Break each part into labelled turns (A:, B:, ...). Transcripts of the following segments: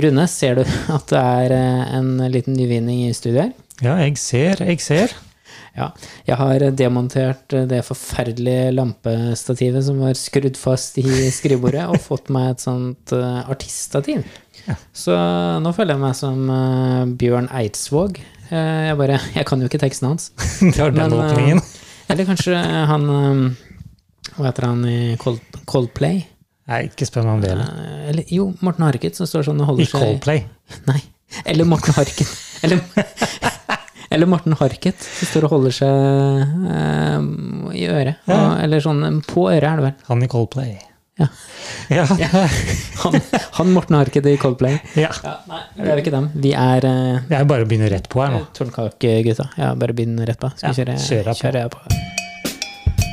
A: Rune, ser du at det er eh, en liten nyvinning i studio her?
B: Ja, jeg ser, jeg ser.
A: Ja. Jeg har demontert eh, det forferdelige lampestativet som var skrudd fast i skrivebordet, og fått meg et sånt eh, artiststativ. Så nå føler jeg meg som eh, Bjørn Eidsvåg. Eh, jeg bare Jeg kan jo ikke teksten hans.
B: Det var den
A: Men, eh,
B: åpningen.
A: Eller kanskje han eh, Hva heter han i Cold, Coldplay?
B: Nei, ikke spør meg om det. eller?
A: Eh, Eller, jo, Morten Harket, som står sånn og
B: I
A: holder seg
B: Coldplay.
A: Nei. Eller Morten Harket. Eller, eller Morten Harket, som står og holder seg eh, i øret. Og, Eller sånn På øret, er det vel.
B: Han i Coldplay.
A: Ja.
B: Ja.
A: Han, han Morten Harket i Coldplay.
B: ja.
A: Ja, nei, det er jo ikke dem. Vi er eh,
B: Jeg bare begynner rett på her nå.
A: Tårnkakegutta. Ja, bare begynn rett på. Skal vi kjøre,
B: Ja, kjører jeg på.
A: kjører jeg på.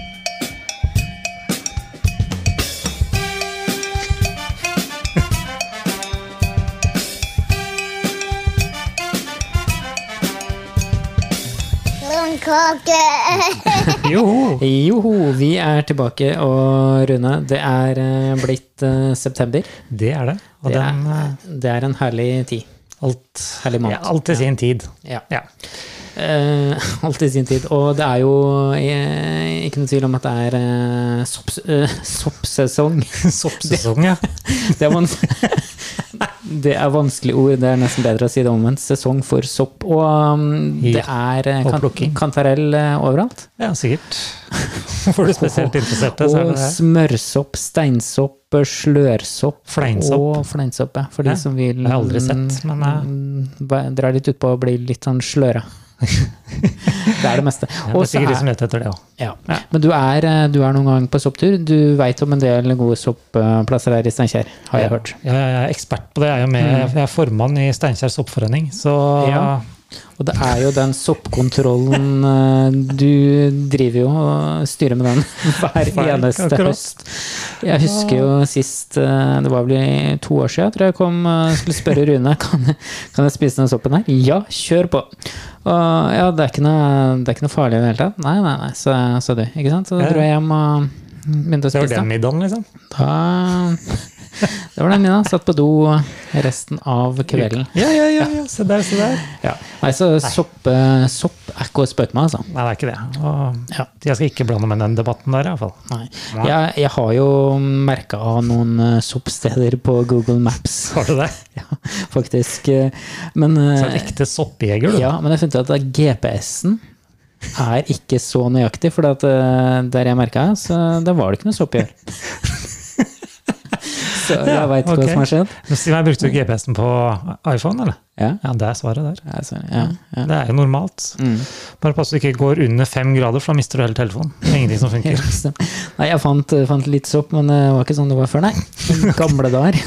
C: Blomkake!
B: Joho!
A: Joho, vi er tilbake. Og Rune, det er eh, blitt eh, september.
B: Det er det. Og
A: Det
B: den
A: er,
B: eh,
A: det er en herlig tid.
B: alt,
A: Herlig måned.
B: ja, alt til sin tid.
A: Ja.
B: Ja.
A: Eh, alt i sin tid. Og det er jo eh, ikke noe tvil om at det er eh, sopps- eh, soppsesong.
B: Soppsesong, ja.
A: Det er, vans det er vanskelige ord. Det er nesten bedre å si det omvendt. Sesong for sopp. Og um, det er eh,
B: og
A: kan
B: plukking.
A: kantarell eh, overalt.
B: Ja, sikkert. For de spesielt interesserte, så er sånn
A: Og
B: det det her.
A: smørsopp, steinsopp, eh, slørsopp
B: Fleinsopp.
A: og fleinsopp. Ja, for de
B: Ja,
A: som vil
B: det har jeg aldri sett, men, eh.
A: mm, ba- Drar litt utpå og blir litt sånn sløra. det er det meste.
B: Det
A: Og
B: er
A: så
B: sikkert de
A: er-
B: som leter etter det òg.
A: Ja. Men du er, eh, du er noen gang på sopptur. Du veit om en del gode soppplasser her i Steinkjer, har jeg hørt.
B: Ja, jeg er ekspert på det. Jeg er, jo med, jeg er formann i Steinkjer soppforening, så
A: Mm. Ja. Og det er jo den soppkontrollen eh, Du driver jo og styrer med den hver
B: Feil,
A: eneste
B: akkurat.
A: høst. Jeg husker jo sist eh, Det var vel i to år siden jeg tror jeg kom eh, skulle spørre Rune kan jeg, kan jeg spise den soppen her. Ja, kjør på! Og ja, det er ikke noe, det er ikke noe farlig i det hele tatt. Nei, nei, nei, sa sa du. Ikke sant? Så
B: Ja.
A: dro jeg hjem og begynte å
B: det var
A: spise
B: den
A: den.
B: middagen, liksom.
A: Da, det var den middagen. Satt på do resten av kvelden.
B: Ja, ja, ja, ja. Se der, se der.
A: Ja. Nei, så sopp, eh, sopp er ikke å spøke med, altså.
B: Nei, det er ikke det. Og
A: Ja.
B: jeg skal ikke blande meg i den debatten der, iallfall.
A: Nei. Jeg, jeg har jo merka av noen eh, soppsteder på Google Maps,
B: Har du det?
A: ja, faktisk. eh, Men, eh,
B: Så en ekte soppjeger, du.
A: ja, men jeg fant ut at det er GPS-en er ikke så nøyaktig, for at, eh, der jeg merka, så der var det ikke noe sopp i år. Så jeg veit ikke
B: ok.
A: hva som har skjedd.
B: Men Si meg, brukte du GPS-en på iPhone, eller?
A: Ja.
B: Ja, det er svaret der.
A: Ja, så- ja, ja.
B: Det er jo normalt. Bare pass du ikke går under fem grader, for da mister du hele telefonen. Det er Ingenting som funker.
A: Liksom. Nei, jeg fant, fant litt sopp, men det var ikke sånn det var før, nei. I Gamle dager.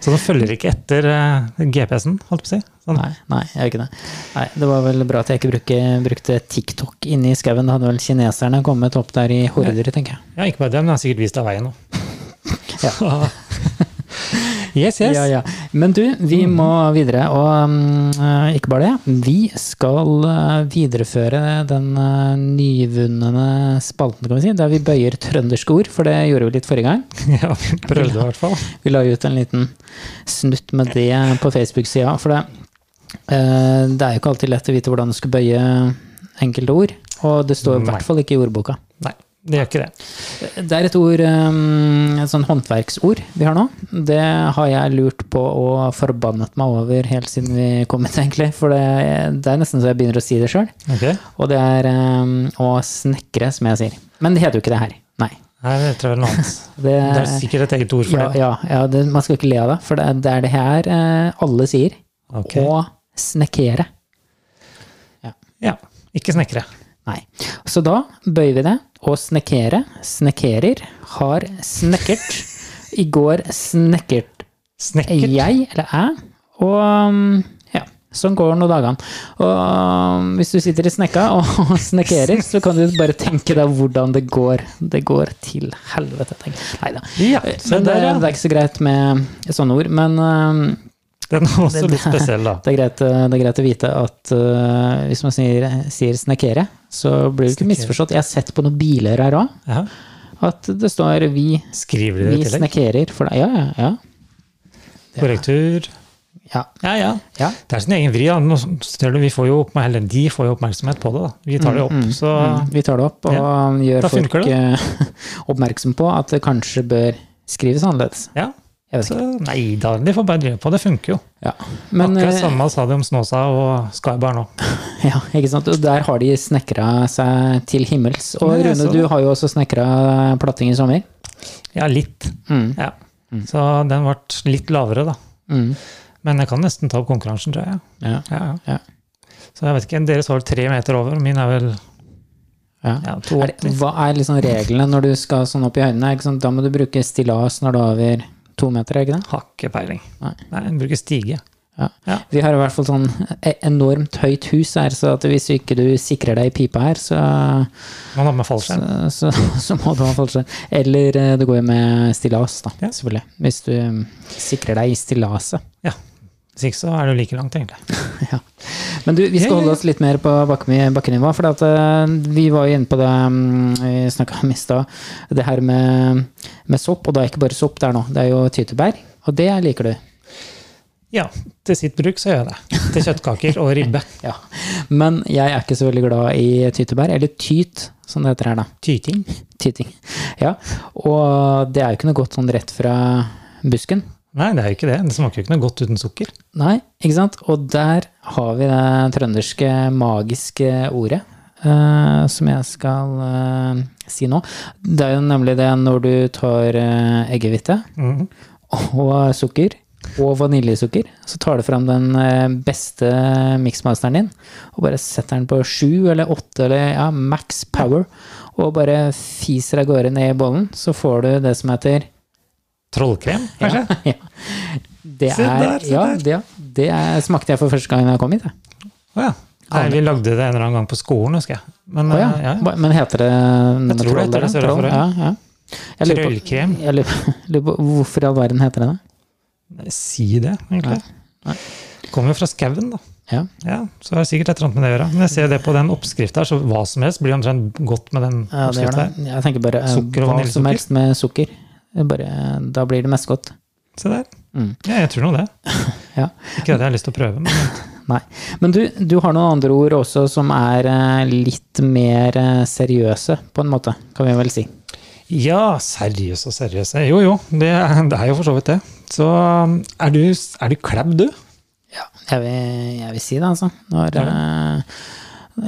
B: Så den følger ikke etter eh, GPS-en, holdt på å si. Sånn.
A: Nei, nei, jeg gjør ikke det. Nei, det var vel bra at jeg ikke bruke, brukte TikTok inne i skauen. Da hadde vel kineserne kommet opp der i horder, tenker jeg.
B: Ja, ikke bare det, men den har sikkert vist deg veien nå. yes, yes. Mm.
A: Ja, ja. Men du, vi må videre. Og mm, eh, ikke bare det. Vi skal eh, videreføre den eh, nyvunne spalten, kan vi si, der vi bøyer trønderske ord, for det gjorde vi litt forrige gang.
B: Ja, vi prøvde i hvert fall.
A: Vi la jo ut en liten snutt med det på Facebook-sida, for det, eh, det er jo ikke alltid lett å vite hvordan du skal bøye enkelte ord. Og det står i
B: Nei.
A: hvert fall ikke i ordboka.
B: Nei, det gjør ikke det.
A: Det er et ord, eh, et sånn håndverksord vi har nå. Det har jeg lurt på og forbannet meg over helt siden vi kom hit, egentlig. For det, det er nesten så jeg begynner å si det sjøl.
B: Ok.
A: Og det er eh, å snekre, som jeg sier. Men det heter jo ikke det her. Nei.
B: Nei, det tror jeg er noe annet.
A: Det,
B: Det er sikkert et eget ord for
A: Ja,
B: det.
A: ja, ja det, man skal ikke le av det, for det, er- det er det her eh, alle sier.
B: Ok.
A: Å snekkere.
B: Ja, ikke snekkere.
A: Nei. Så da bøyer vi det. Å snekkere, snekkerer, har snekkert. I går snekkert
B: Snekkert?
A: jeg, eller jeg, og um, ja. Sånn går nå dagene. Og um, hvis du sitter i snekka og snekkerer, så kan du bare tenke deg hvordan det går. Det går til helvete, tenk. Nei da.
B: Ja, se
A: Men det,
B: der,
A: det
B: ja.
A: er ikke så greit med sånne ord. Men um,
B: Den er også
A: Det-
B: litt spesiell, da.
A: Det er greit, eh, det er greit å vite at eh, hvis man sier, sier snekkere, så blir du ikke
B: Snekkere.
A: misforstått. Jeg har sett på noen biler her òg,
B: Ja.
A: at det står 'vi,
B: Skriver de
A: vi
B: det i tillegg?
A: snekkerer'. For deg. Ja, ja, ja.
B: Korrektur.
A: Ja.
B: Ja, ja.
A: Ja.
B: Det er sin egen vri. Da. Nå ser du, vi får jo oppmer- eller de får jo oppmerksomhet på det. da. Vi tar det opp. så
A: Mm, Vi tar det opp og gjør
B: Da
A: folk
B: funker det.
A: eh, oppmerksom på at det kanskje bør skrives annerledes.
B: ja.
A: Jeg vet
B: Så,
A: ikke.
B: nei da, de får bare drive på. Det funker jo.
A: Ja. Men,
B: Akkurat
A: eh,
B: samme sa de om Snåsa og Skybar nå.
A: Ja, ikke sant? Og der har de snekra seg til himmels. Og
B: Ja, jeg
A: Rune,
B: så
A: du
B: det.
A: har jo også snekra platting i sommer.
B: Ja, litt.
A: Mm.
B: Ja. Så den ble litt lavere, da.
A: Mm.
B: Men jeg kan nesten ta opp konkurransen, tror jeg.
A: Ja.
B: Ja, ja.
A: Ja.
B: Så jeg vet ikke, Deres var tre meter over, og min er vel
A: Ja.
B: ja,
A: Er det,
B: 2,80.
A: hva er liksom reglene når du skal sånn opp i høydene? Ikke sant? Da må du bruke stillas når du er over to meter, er ikke det?
B: Har ikke peiling.
A: Nei.
B: Nei, jeg bruker stige.
A: Ja.
B: Ja.
A: Vi har i hvert fall sånn e- enormt høyt hus her, så at hvis ikke du sikrer deg i pipa her, så,
B: Man har med
A: så,
B: fallskjerm.
A: så, så må du ha fallskjerm. Eller eh, det går jo med stillas, da,
B: Ja.
A: selvfølgelig. Hvis du mm, sikrer deg i stillaset.
B: Ja. Hvis ikke så er det jo like langt, egentlig.
A: Ja. Men du, vi skal
B: Ja, ja, ja.
A: holde oss litt mer på bakke- bakkenivå. For at, eh, vi var jo inne på det mm, vi snakka om i stad, det her med, med sopp. Og da er ikke bare sopp der nå, det er jo tyttebær. Og det liker du.
B: Ja, til sitt bruk så gjør jeg det. Til kjøttkaker og ribbe.
A: Ja. Men jeg er ikke så veldig glad i tyttebær. Eller tyt, som det heter her, da.
B: Tyting.
A: Tyting. Ja. Og det er jo ikke noe godt sånn rett fra busken.
B: Nei, det er jo ikke det. Det smaker jo ikke noe godt uten sukker.
A: Nei, ikke sant? Og der har vi det trønderske magiske ordet eh, som jeg skal eh, si nå. Det er jo nemlig det når du tar eh, eggehvite
B: Mhm.
A: og sukker og vaniljesukker, så tar du fram den eh, beste miksmasteren din og bare setter den på sju eller åtte eller ja, max power og bare fiser av gårde ned i bollen, så får du det som heter
B: Trollkrem, kanskje?
A: ja. Det
B: Se der,
A: er,
B: se
A: ja,
B: der.
A: det, det er, smakte jeg for første gang jeg kom hit. jeg.
B: Å ja. Nei, vi lagde det en eller annen gang på skolen, husker jeg. Men,
A: Å ja.
B: eh, ja, ja.
A: Hva- Men heter det
B: Jeg tror det heter det, ser jeg for meg.
A: Ja, ja. Jeg lurer på,
B: Trøllkrem.
A: jeg lurer, lurer på hvorfor i all verden heter det det?
B: Si det, egentlig.
A: Nei.
B: Kommer jo fra skauen, da.
A: Ja.
B: Ja, så har det sikkert et eller annet med det å gjøre. Men jeg ser det på den oppskriften her, så hva som helst blir omtrent godt med den
A: Ja, det gjør
B: oppskriften
A: det.
B: her.
A: Jeg tenker bare eh,
B: Sukker og
A: hva som
B: vaniljesukker?
A: helst med sukker. Det er Bare, da blir det mest godt.
B: Se der.
A: Mm.
B: Ja, jeg tror nå det.
A: Ja.
B: Ikke at jeg har lyst til å prøve, men
A: Nei. Men du, du har noen andre ord også som er eh, litt mer eh, seriøse, på en måte, kan vi vel si.
B: Ja, seriøs og seriøs. Jo, jo, det, det er jo for så vidt det. Så um, er du, er du klebb, du?
A: Ja, jeg vil, jeg vil si det, altså. Når, eh,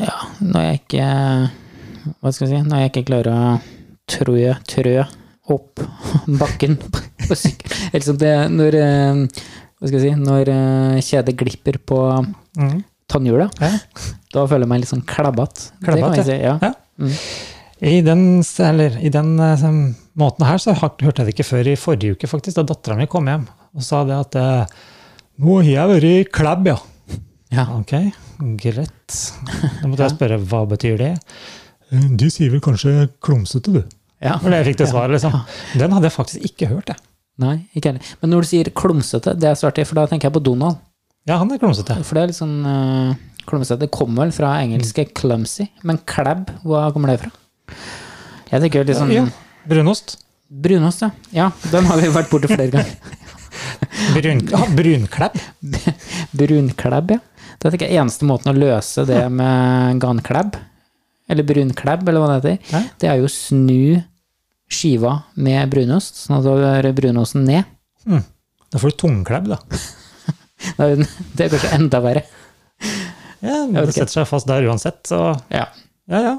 A: ja, når jeg ikke Hva skal jeg si? Når jeg ikke klarer å trø, trø opp bakken på, på sykkel. Eller som det Når eh, Hva skal jeg si? Når eh, kjedet glipper på
B: Mm.
A: tannhjula,
B: Ja.
A: da føler jeg meg litt sånn klabbete.
B: Klabbete,
A: si. Ja.
B: ja.
A: Mm.
B: I den, s- eller, i den eh, sånn måten her så har- hørte jeg det ikke før i forrige uke, faktisk, da dattera mi kom hjem og sa det at eh, Nå har jeg vært i klebb, ja.
A: Ja.
B: Ok, greit. Da måtte jeg spørre hva betyr det? Du Eh, sier vel kanskje klumsete, du.
A: Ja.
B: Når jeg fikk det svaret, liksom. Den hadde jeg faktisk ikke hørt, jeg.
A: Nei, ikke heller. Men når du sier klumsete, det er så artig, for da tenker jeg på Donald.
B: Ja, han er klumsete.
A: For det er litt sånn eh, klumsete. Det kommer vel fra engelske
B: Mm.
A: 'clumsy', men 'clab', hva kommer det fra? Jeg tenker jo litt sånn
B: Ja, brunost.
A: Brunost, ja. ja. Den har vi vært borti flere ganger.
B: Brun, ja, brunklepp.
A: Brunklæbb, ja. Det er ikke eneste måten å løse det med ganklæbb, eller brunklæbb, eller hva det heter,
B: Hæ?
A: det er jo å snu skiva med brunost, sånn at du har brunosten ned.
B: Mm. Da får du tungklebb, da.
A: Det er jo- det er kanskje enda verre.
B: Ja,
A: vet
B: det
A: ikke.
B: setter seg fast der uansett, så
A: Ja.
B: ja, ja.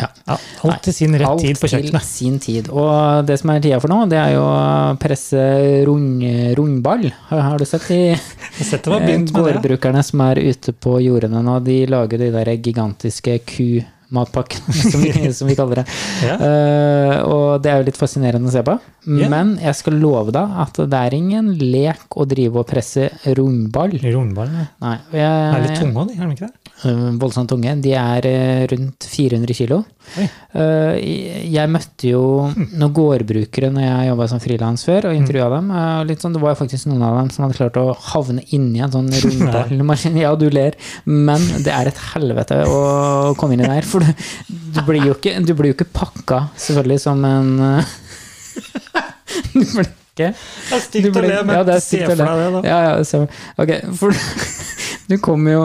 A: Ja.
B: ja alt til sin rett
A: Alt
B: tid på
A: til
B: kjøkkenet.
A: sin tid. Og det som er tida for nå, det er jo å presse rund, rundball. Har, har du sett de
B: Jeg setter meg
A: eh,
B: begynt med det.
A: gårdbrukerne som er ute på jordene nå? De lager de der gigantiske kumatpakkene, som, vi- som vi kaller det.
B: Ja.
A: Eh, og det er jo litt fascinerende å se på.
B: Ja.
A: Men jeg skal love deg at det er ingen lek å drive og presse rundball.
B: Rundballene
A: Nei. og
B: er
A: Jeg,
B: litt tunge, de, er de ikke det?
A: eh, voldsomt tunge. De er eh, rundt 400 kilo.
B: Oi.
A: Eh, Jeg møtte jo noen gårdbrukere når jeg jobba som frilans før,
B: Mm.
A: og intervjua dem. eh, og Litt sånn, det var jo faktisk noen av dem som hadde klart å havne inni en sånn rundballmaskin. Ja, du ler, men det er et helvete å komme inn i der. For du, du, blir, jo ikke, du blir jo ikke pakka, selvfølgelig, som en eh, du blir, ikke.
B: Det er stygt
A: Du
B: å
A: ble-
B: le, men
A: ja, det er
B: se
A: stygt å
B: for
A: le.
B: deg det, da.
A: Ja, ja, det stemmer. Ok, for du kommer jo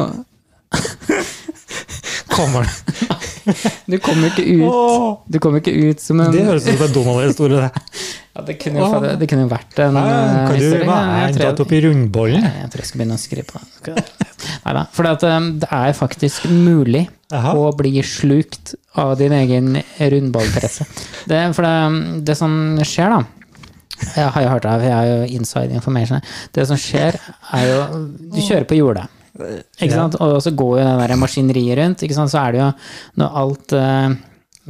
B: Kommer det
A: Du kommer ikke ut
B: Åh,
A: Du kommer ikke ut som en
B: Det høres ut som en Donald-historie, det.
A: ja, det, kunne jo, fa- det kunne jo vært en
B: Nei,
A: eh,
B: Kan du
A: historie.
B: være
A: Jeg
B: dratt
A: tror,
B: opp i rundbollen?
A: jeg tror jeg skal begynne å skrive på det. Nei da. For eh, det er faktisk mulig
B: Jaha.
A: og blir slukt av din egen rundballpresse. Det, for det, det som skjer, da Jeg har jo hørt det, her, for jeg er jo inside information. her. Det som skjer, er jo Du kjører på jordet. Ikke
B: Ja.
A: sant? Og så går jo det der maskineriet rundt. Ikke sant? Så er det jo Når alt eh,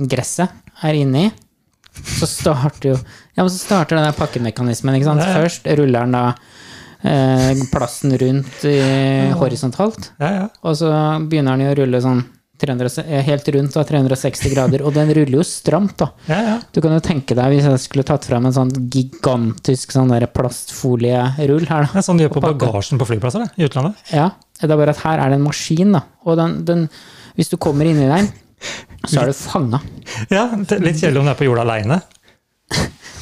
A: gresset er inni, så starter jo Ja, men så starter den der pakkemekanismen, ikke sant.
B: Ja, ja.
A: Først ruller den da eh, plasten rundt i, horisontalt.
B: Ja, ja.
A: Og så begynner den jo å rulle sånn 300, eh, helt rundt, da, 360 grader. Og den ruller jo stramt, da.
B: ja, ja.
A: Du kan jo tenke deg hvis jeg skulle tatt fram en sånn gigantisk sånn der plastfolierull her,
B: Det
A: da.
B: er sånn de gjør på
A: Og pakke.
B: bagasjen på flyplasser det, i utlandet.
A: Ja, det er bare at her er det en maskin, da. Og den, den Hvis du kommer inni der, så er du fanga.
B: Ja, det er Litt kjedelig om du er på jorda aleine.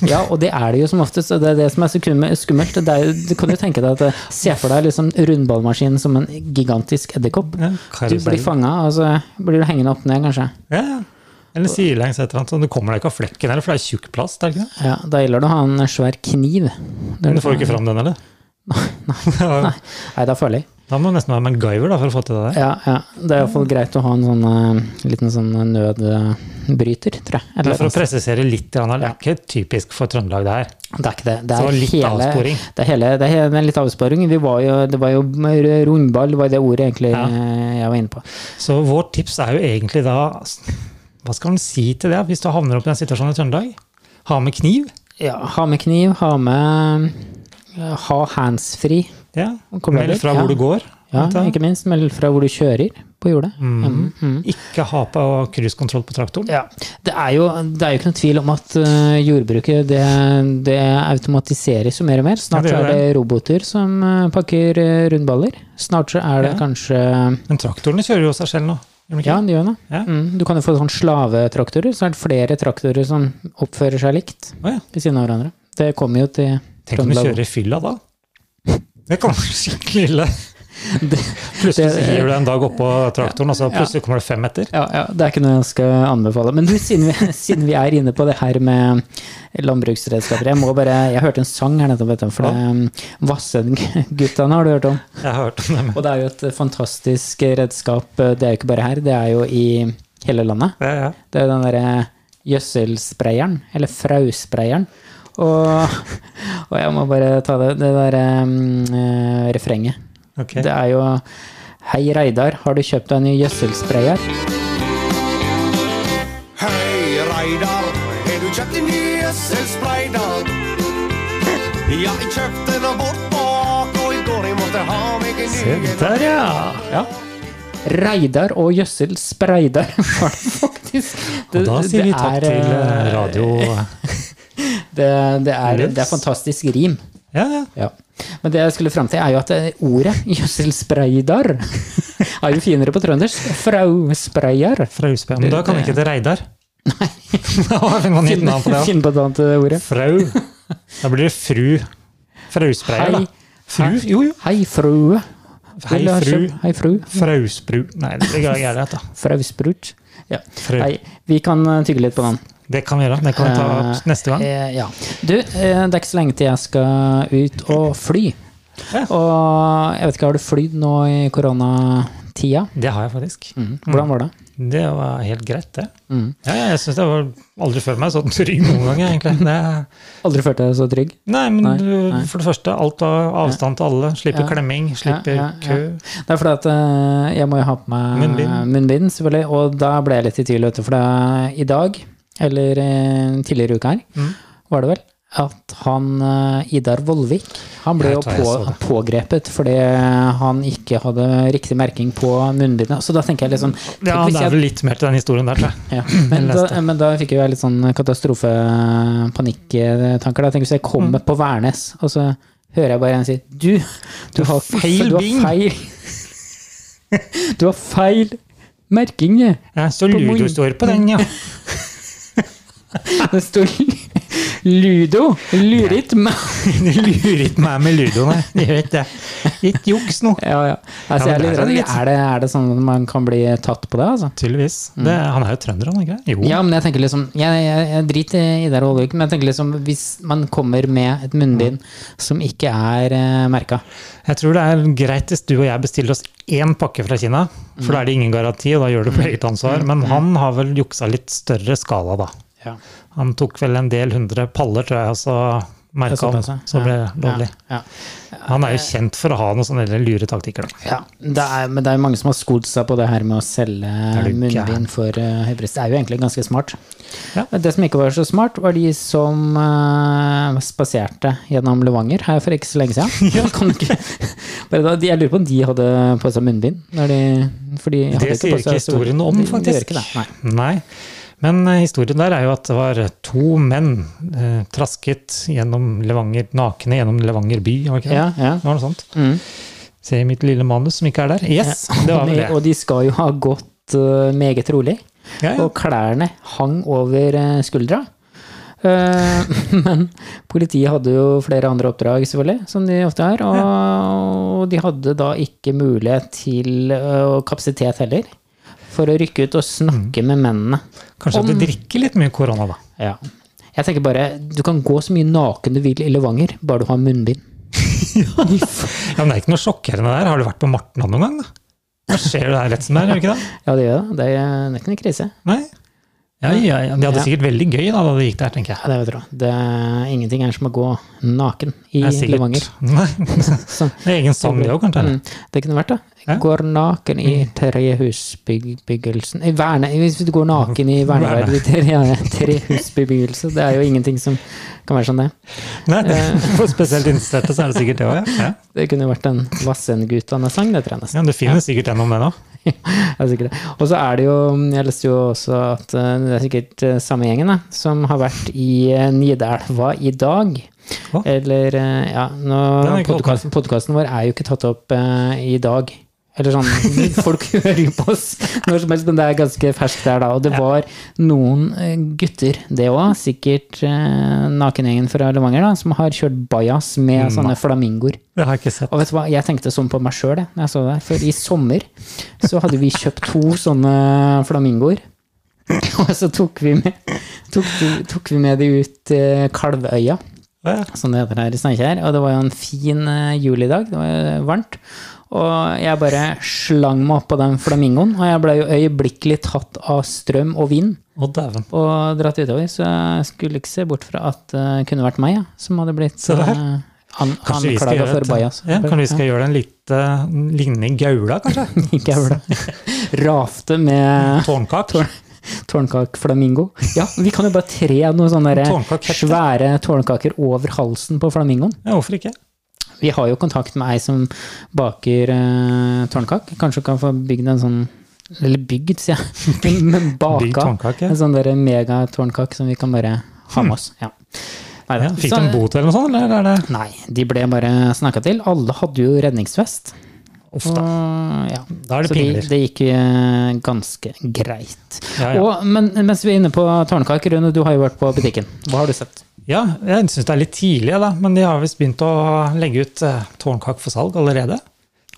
A: Ja, og det er det jo som oftest. og Det er det som er så kum- skummelt. Det er, jo- du kan jo tenke deg at eh, Se for deg liksom rundballmaskinen som en gigantisk edderkopp.
B: Ja,
A: Du blir
B: karusell.
A: fanga, og så blir du hengende opp ned, kanskje.
B: ja, ja. Eller sidelengs et eller annet. sånn, Du kommer deg ikke av flekken heller, for det er tjukk plast. er det ikke det?
A: Ja, da gjelder det å ha en svær kniv. Det er
B: Men
A: det-
B: du får jo ikke fram den, eller? Nei.
A: Nei, det er farlig.
B: Da må du nesten være MacGyver da, for å få til det der.
A: Ja, ja. Det er iallfall greit å ha en sånn eh, liten sånn nødbryter, tror jeg.
B: Det
A: Eller,
B: er for å presisere litt, grann, det er ikke typisk for Trøndelag det her.
A: det er ikke det. Det
B: Så
A: er,
B: litt
A: hele,
B: avsporing.
A: det er, hele, det er hele, litt avsporing. Vi var jo, det var jo rundball, det var det ordet egentlig
B: Ja.
A: eh, jeg var inne på.
B: Så vårt tips er jo egentlig da Hva skal man si til det, hvis du havner opp i den situasjonen i Trøndelag? Ha med kniv?
A: Ja, ha med kniv, ha med ja, Ha handsfree.
B: Ja.
A: Og kommer
B: Meld
A: dit,
B: fra
A: ja.
B: hvor du går.
A: Ja,
B: vet du.
A: ikke minst. Meld fra hvor du kjører på jordet. Mm, mm.
B: Ikke ha på cruisekontroll på traktoren.
A: Ja, det er, jo, det er jo ikke noen tvil om at øh, jordbruket det, det automatiseres jo mer og mer. Snart
B: Ja, det
A: så
B: gjør
A: er det roboter som øh, pakker øh, rundballer. Snart så er det
B: Ja.
A: kanskje
B: Men traktorene kjører jo seg selv nå. gjør de ikke?
A: Ja, de gjør det.
B: Ja.
A: Mm, du kan jo få sånn slavetraktorer. Så er det flere traktorer som oppfører seg likt
B: Å ja.
A: ved siden av hverandre. Det kommer jo til
B: Tenk om du
A: Trøndelag.
B: kjører i fylla da. Det kan være skikkelig ille.
A: Det,
B: Plutselig så
A: det-
B: hiver du deg en dag oppå traktoren, og så plutselig kommer det fem meter.
A: Ja, ja, det er ikke noe jeg skal anbefale. Men du, siden vi, siden vi er inne på det her med landbruksredskaper Jeg må bare, jeg hørte en sang her nettopp, vet du, for det, Vassendguttene har du hørt om.
B: Jeg har hørt om det. men-
A: Og det er jo et eh, fantastisk redskap. eh, Det er jo ikke bare her, det er jo i hele landet.
B: Ja, ja.
A: Det er den derre gjødselsprayeren, eller frausprayeren. Og, og jeg må bare ta det, det derre mm, refrenget.
B: Ok.
A: Det er jo Hei, Reidar, har du kjøpt deg en ny gjødselsprayer?
C: Hei, Reidar, har du kjøpt en ny gjødselsprayder? Ja, jeg kjøpte den bort bak, og i går jeg måtte ha meg en
B: Se
C: ny en.
B: der, ja. ja.
A: Reidar og Jøssel Spreidar, var det faktisk. Det,
B: Og da sier vi
A: det
B: takk
A: er,
B: til eh,
A: eh,
B: radio...
A: Det, det, er, det er
B: Yes.
A: fantastisk rim.
B: Ja, ja.
A: Ja. Men det jeg skulle fram til, er jo at eh, ordet Jøssel Spreidar er jo finere på trøndersk. Frau Spreier.
B: Frauspe. Men da kan ikke det Reidar. Nei. Da finner man nytt
A: Finn,
B: navn på det. ja.
A: finn på et annet eh, ordet.
B: Frau. Da blir det fru. Frausbreier,
A: Hei.
B: da. Fru? Jo, jo.
A: Hei, frue.
B: Hei,
A: Vil du ha
B: fru.
A: kjøpt- Hei, fru.
B: Frausbru. Nei, det blir greit, da.
A: Frausprut. Ja.
B: Frau.
A: Nei, vi kan eh, tygge litt på den.
B: Det kan vi gjøre. Det kan vi ta opp
A: Eh,
B: neste gang.
A: Eh, ja. Du, eh, det er ikke så lenge til jeg skal ut og fly.
B: Ja.
A: Og jeg vet ikke, har du flydd nå i koronatida?
B: Det har jeg faktisk.
A: Hvordan var det?
B: Det var helt greit, det.
A: Mm.
B: Ja, ja, jeg syns jeg var aldri følt meg sånn trygg noen gang, egentlig. Det,
A: Aldri følt deg så trygg?
B: nei, men
A: Nei,
B: du-
A: nei.
B: for det første, alt var avstand til alle. Slipper
A: Ja.
B: klemming, slipper
A: Ja, ja, ja.
B: kø.
A: Det er fordi at eh, jeg må jo ha på meg
B: Munnbind.
A: munnbind, selvfølgelig. Og da ble jeg litt i tvil, vet du, for det i dag, eller eh, tidligere i uka her,
B: Mm.
A: var det vel, at han eh, Idar Vollvik, han ble
B: Jeg
A: jo
B: tror jeg
A: på,
B: så det.
A: pågrepet fordi han ikke hadde riktig merking på munnbindet. Så da tenker jeg liksom tenk
B: Ja,
A: hvis
B: det
A: jeg-
B: er vel litt mer til den historien der, tror jeg.
A: Ja, men,
B: leste.
A: da, men da fikk jo jeg litt sånn katastrofepanikktanker. da. Tenk hvis jeg kommer
B: Mm.
A: på Værnes, og så hører jeg bare en si Du, du har
B: feil
A: du har
B: bing!»
A: feil. Du har feil merking, jeg.
B: Ja, så
A: På Moi.
B: Ludo står på den, ja.
A: Det står Ludo. Lurit. men-
B: De lurer ikke meg med Ludo, nei. De vet det. Ikke juks nå.
A: Ja, ja. Altså,
B: Ja,
A: jeg er
B: men
A: litt
B: der
A: redd.
B: er det litt-
A: Er det, er det sånn at man kan bli tatt på det, altså?
B: Tydeligvis. Det, han er jo trønder, han, ikke det? Jo.
A: Ja, men jeg tenker liksom Jeg, jeg, jeg driter i det og Olvik, men jeg tenker liksom hvis man kommer med et munnbind
B: Mm.
A: som ikke er eh, merka
B: Jeg tror det er greit hvis du og jeg bestiller oss én pakke fra Kina, for
A: Mm.
B: da er det ingen garanti, og da gjør du på eget ansvar. Men han har vel juksa litt større skala, da.
A: ja.
B: Han tok vel en del hundre paller, tror jeg, og så
A: Det
B: merka
A: er såpass,
B: han, så ble det lovlig.
A: Ja,
B: Han er jo kjent for å ha noen sånne lure taktikker, da.
A: ja. ja. Det er, men det er jo mange som har skodd seg på det her med å selge
B: er jo ikke-
A: munnbind for eh, høybrist. Det er jo egentlig ganske smart.
B: Ja.
A: Det som ikke var så smart, var de som eh, spaserte gjennom Levanger her for ikke så lenge siden. Kan du ikke, bare da, de, jeg lurer på om de hadde på seg munnbind. Når de, for de hadde
B: Det sier
A: på seg
B: ikke
A: store-
B: historien om,
A: de- De gjør
B: faktisk.
A: ikke det, nei.
B: Nei. Men eh, historien der er jo at det var to menn eh, trasket gjennom Levanger, nakne gjennom Levanger by. var det ikke det?
A: Ja, ja.
B: Det var noe sånt.
A: Mm.
B: Se i mitt lille manus som ikke er der. Yes,
A: Ja,
B: det var
A: og
B: vel
A: de-
B: det.
A: Og de skal jo ha gått eh, meget rolig.
B: Ja, ja.
A: Og klærne hang over eh, skuldra. Eh, men politiet hadde jo flere andre oppdrag, selvfølgelig, som de ofte har. Og, og de hadde da ikke mulighet til, eh, og kapasitet heller, for å rykke ut og snakke
B: Mm.
A: med mennene.
B: Kanskje at
A: Om-
B: du drikker litt mye korona, da.
A: Ja. Jeg tenker bare, du kan gå så mye naken du vil i Levanger, bare du har munnbind.
B: Ja, men Det er ikke noe sjokkerende der. Har du vært på Martna noen gang? da? Da skjer det der rett som det er, gjør det ikke det?
A: Ja, det gjør det. Det er det er ikke noe krise.
B: Nei? Ja, ja, ja. De hadde
A: Ja.
B: sikkert veldig gøy da, da de gikk der, tenker jeg.
A: Ja, det vet du. hva. Det er ingenting er som å gå naken i
B: Det er sikkert-
A: Levanger.
B: Nei. Det er egen sang, det òg, kanskje.
A: Mm, det kunne vært det.
B: Ja.
A: Går naken i trehusbebyggelsen I verne, Hvis du går naken i verneverdig trehusbebyggelse, det er jo ingenting som kan være sånn, det.
B: Nei, det, for spesielt innsatte så er det sikkert det òg, ja. ja.
A: Det kunne vært en Vassendgutane-sang, det tror jeg nesten.
B: Ja, Det finnes sikkert en om det nå.
A: Det er sikkert det. Og så er det jo, jeg leste jo også at eh, det er sikkert eh, samme gjengen da, som har vært i eh, Nidelva i dag.
B: Hva?
A: Eller eh, ja, nå,
B: Den er ikke tatt opp.
A: podcasten, podcasten vår er jo ikke tatt opp eh, i dag. Eller sånn, folk hører jo på oss når som helst, men det er ganske ferskt der da. Og det var noen eh, gutter, det også, sikkert eh, nakengjengen fra Levanger da, som har kjørt bajas med
B: Mm.
A: sånne flamingoer.
B: Det har jeg ikke sett.
A: Og vet du hva, jeg tenkte sånn på meg sjøl, jeg, når jeg så det her. For i sommer så hadde vi kjøpt to sånne flamingoer. Og så tok vi med, tok, tok vi med de ut til Kalvøya,
B: Ja,
A: som det heter her i Steinkjer. Og det var jo en fin eh, julidag, det var eh, varmt. Og jeg bare slang meg oppå den flamingoen, og jeg ble jo øyeblikkelig tatt av strøm og vind
B: Å, dæven.
A: og dratt utover. Så jeg skulle ikke se bort fra at det kunne vært meg, ja, som hadde blitt
B: Se der.
A: eh, an,
B: Kanskje vi skal
A: anklaga
B: gjøre
A: for bajas.
B: et- ja, kanskje vi skal gjøre det en lite lignende i Gaula, kanskje?
A: Ikke evla. Rafte med
B: Tårnkak.
A: tårnkakflamingo. Ja, vi kan jo bare tre noen sånne der
B: Tårnkakehette.
A: svære tårnkaker over halsen på flamingoen.
B: Ja, hvorfor ikke?
A: Vi har jo kontakt med ei som baker eh, tårnkak. Kanskje hun kan få bygd en sånn Eller bygd, sier jeg. Men
B: Bygg
A: baka.
B: tårnkake. Hmm.
A: En sånn der megatårnkak som vi kan bare ha med oss. Ja. Neida.
B: Ja, fikk
A: Så-
B: du en bot eller noe sånt, eller er det
A: Nei, de ble bare snakka til. Alle hadde jo redningsvest.
B: Uff da.
A: Og, ja.
B: Da er
A: Mm.
B: det
A: Så de,
B: pingler.
A: det gikk eh, ganske greit.
B: Ja, ja.
A: Og, men mens vi er inne på tårnkaker, Rune, du har jo vært på butikken. Hva har du sett?
B: Ja, jeg syns det er litt tidlig, da, men de har visst begynt å legge ut eh, tårnkak for salg allerede.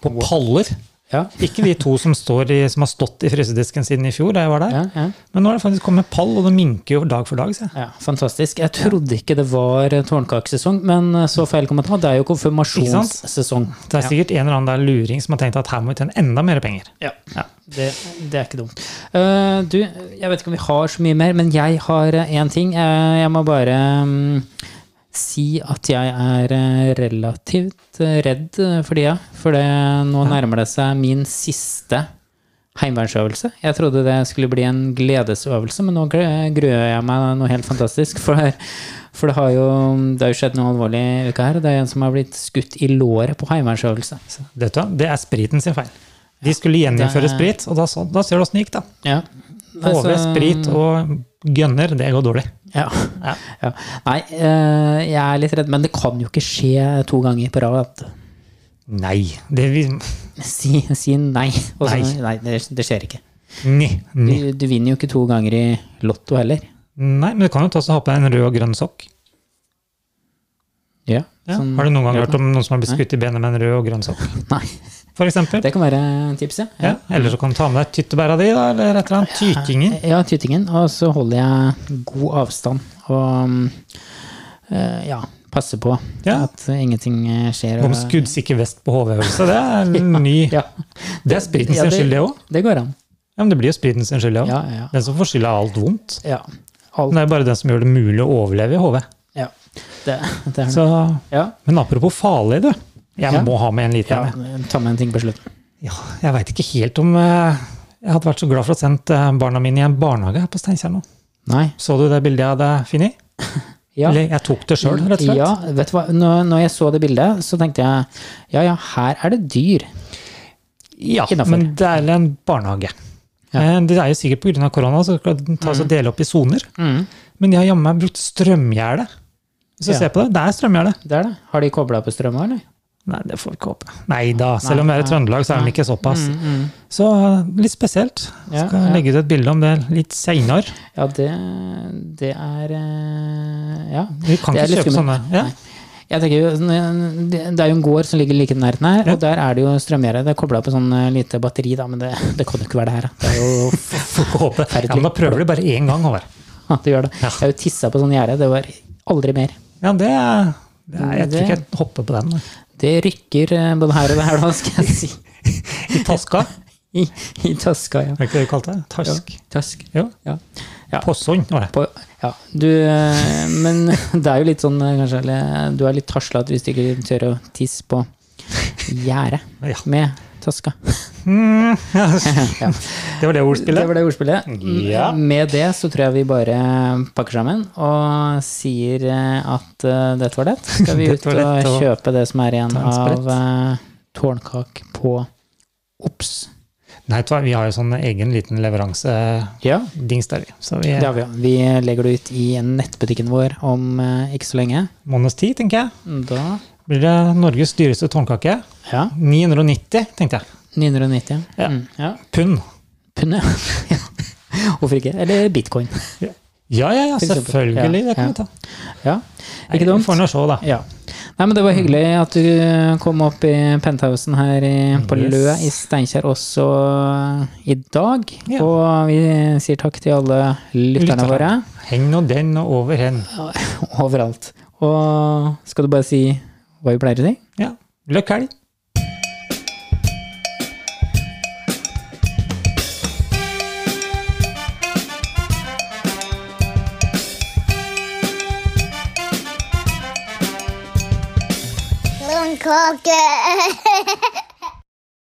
B: På paller.
A: Ja,
B: Ikke de to som, står i, som har stått i frysedisken siden i fjor, da jeg var der.
A: ja, ja,
B: Men nå har det faktisk kommet pall, og det minker jo dag for dag. ser jeg.
A: Fantastisk. Jeg trodde ikke det var tårnkakesesong, men eh, så feil kom jeg til. Det er jo konfirmasjonssesong.
B: Det er sikkert en eller annen der luring som har tenkt at her må vi tjene enda mer penger.
A: Ja, ja. Det, det er ikke dumt. Eh, du, jeg vet ikke om vi har så mye mer, men jeg har én ting. Eh, jeg må bare mm, si at jeg er eh, relativt eh, redd eh, for tida. For det, nå nærmer det seg min siste heimevernsøvelse. Jeg trodde det skulle bli en gledesøvelse, men nå gle- gruer jeg meg noe helt fantastisk. For, for det har jo, det har jo skjedd noe alvorlig i uka her. Det er en som har blitt skutt i låret på heimevernsøvelse.
B: Det, vet du, hva, det er spriten sin feil. De skulle gjeninnføre
A: det-
B: sprit, og da, så, da ser du åssen det gikk, da.
A: Ja.
B: HV,
A: Altså-
B: sprit og gønner, det går dårlig.
A: Ja.
B: Ja.
A: ja. Nei, eh, jeg er litt redd, men det kan jo ikke skje to ganger på rad.
B: Nei. Det vi...
A: Si, si nei. Og så, nei, det, det skjer ikke.
B: Nei.
A: Du,
B: Nei.
A: du vinner jo ikke to ganger i Lotto heller.
B: Nei, men du kan jo ta og ha på deg en rød og grønn sokk.
A: Ja,
B: Ja.
A: sånn-
B: Har du noen gang hørt om noen som har blitt skutt i benet med en rød og grønn sokk?
A: Nei.
B: For eksempel.
A: Det kan være tipset.
B: Ja. Eller så kan du ta med deg tyttebæra di, da, eller et eller annet. Tykingen.
A: Ja, tytingen. Og så holder jeg god avstand og mm, eh, ja, passer på
B: Ja.
A: at ingenting eh, skjer.
B: Om
A: og-
B: skuddsikker vest på HV-øvelse, det er en ny
A: Ja,
B: Det er spriten
A: Ja,
B: sin
A: det-
B: skyld, det òg.
A: det går an.
B: Ja, men det blir jo spriten sin skyld, det òg.
A: Ja, ja.
B: Den som får skylda av alt vondt.
A: ja.
B: Men
A: Alt,
B: det er bare den som gjør det mulig å overleve i HV.
A: ja. Det, det er det.
B: Så,
A: Ja.
B: men apropos farlig, du. Jeg
A: Ja.
B: må ha med en liten.
A: ja,
B: Ja.
A: ta med en ting på slutten.
B: Ja, jeg veit ikke helt om eh, Jeg hadde vært så glad for å ha sendt eh, barna mine i en barnehage her på Steinkjer nå.
A: Nei.
B: Så du det bildet jeg hadde funnet?
A: Ja.
B: Eller jeg tok det sjøl, rett og slett.
A: Ja, vet du hva? Når, når jeg så det bildet, så tenkte jeg ja, ja, her er det dyr.
B: Ja,
A: Innenfor.
B: men det er en barnehage.
A: Ja.
B: Eh, Det er jo sikkert pga. korona, så skal den tas og dele opp i soner.
A: Mm,
B: Men de har jammen meg brukt strømgjerde. Hvis du
A: Ja.
B: ser på det, det er strømgjerde.
A: det er det. Har de kobla på strømma, eller?
B: Nei, det får vi ikke håpe. Nei da, selv om vi er i
A: nei,
B: Trøndelag, så er den
A: nei.
B: ikke såpass.
A: Mm, mm.
B: Så eh, litt spesielt.
A: Ja,
B: Skal
A: ja.
B: legge ut et bilde om det litt seinere.
A: Ja, det, det er eh, Ja.
B: Du kan
A: Det er
B: ikke
A: litt
B: kjøpe sånne.
A: skummelt.
B: Ja.
A: Nei. Jeg tenker jo, sånn, Det det er jo en gård som ligger like nærheten her, og der er det jo strømgjerde. Det er kobla på sånn eh, lite batteri, da, men det, det kan jo ikke være det her. da. Det er jo
B: Får ikke håpe. Ja, men da prøver du bare én gang, Håvard.
A: at det gjør det. Jeg har jo tissa på sånn gjerde. Det var aldri mer.
B: Ja, det, det er, Jeg tror ikke jeg hopper på den.
A: Det rykker eh, både her og der, da, skal jeg si.
B: I taska.
A: I, i taska, ja.
B: Er det ikke det du kalte det? Task.
A: Task.
B: Jo.
A: Ja. Ja.
B: Posson var det.
A: På, ja, du eh, Men det er jo litt sånn eh, kanskje eller, Du er litt taslete hvis du ikke tør å tisse på gjerdet
B: Ja.
A: med taska.
B: Mm, ja.
A: Ja.
B: Det var det
A: Det
B: ordspillet.
A: var det ordspillet.
B: Ja.
A: Med det så tror jeg vi bare pakker sammen og sier eh, at eh, dette var det. Skal vi
B: Dette
A: ut
B: var
A: og
B: det, og
A: kjøpe det som er igjen
B: ta en sprett.
A: av eh, tårnkak på Ops.
B: Nei, vet du hva, vi har jo sånn egen liten leveransedings
A: Ja,
B: der, vi. Så vi
A: det har vi. ja. Vi legger det ut i nettbutikken vår om eh, ikke så lenge.
B: måneds tid, tenker jeg.
A: Da
B: Blir det Norges dyreste tårnkake?
A: Ja,
B: 990, tenkte jeg.
A: 990.
B: Ja.
A: Mm, ja.
B: Pund.
A: Pund, ja. ja. Hvorfor ikke? Eller bitcoin.
B: Ja, ja, ja,
A: For eksempel.
B: selvfølgelig.
A: Ja,
B: Det kan
A: ja.
B: vi ta.
A: Ja,
B: Nei,
A: ikke
B: vi
A: dumt.
B: Får nå se, da.
A: Ja. Nei, men det var hyggelig at du kom opp i penthousen her i, på
B: Mm, Yes.
A: Lø i Steinkjer også i dag.
B: Ja.
A: Og vi sier takk til alle lytterne
B: Lytterne.
A: våre
B: Heng nå den og over hen.
A: overalt. Og skal du bare si hva vi pleier å si?
B: Ja. Løkk helg.
D: Lone Cocker.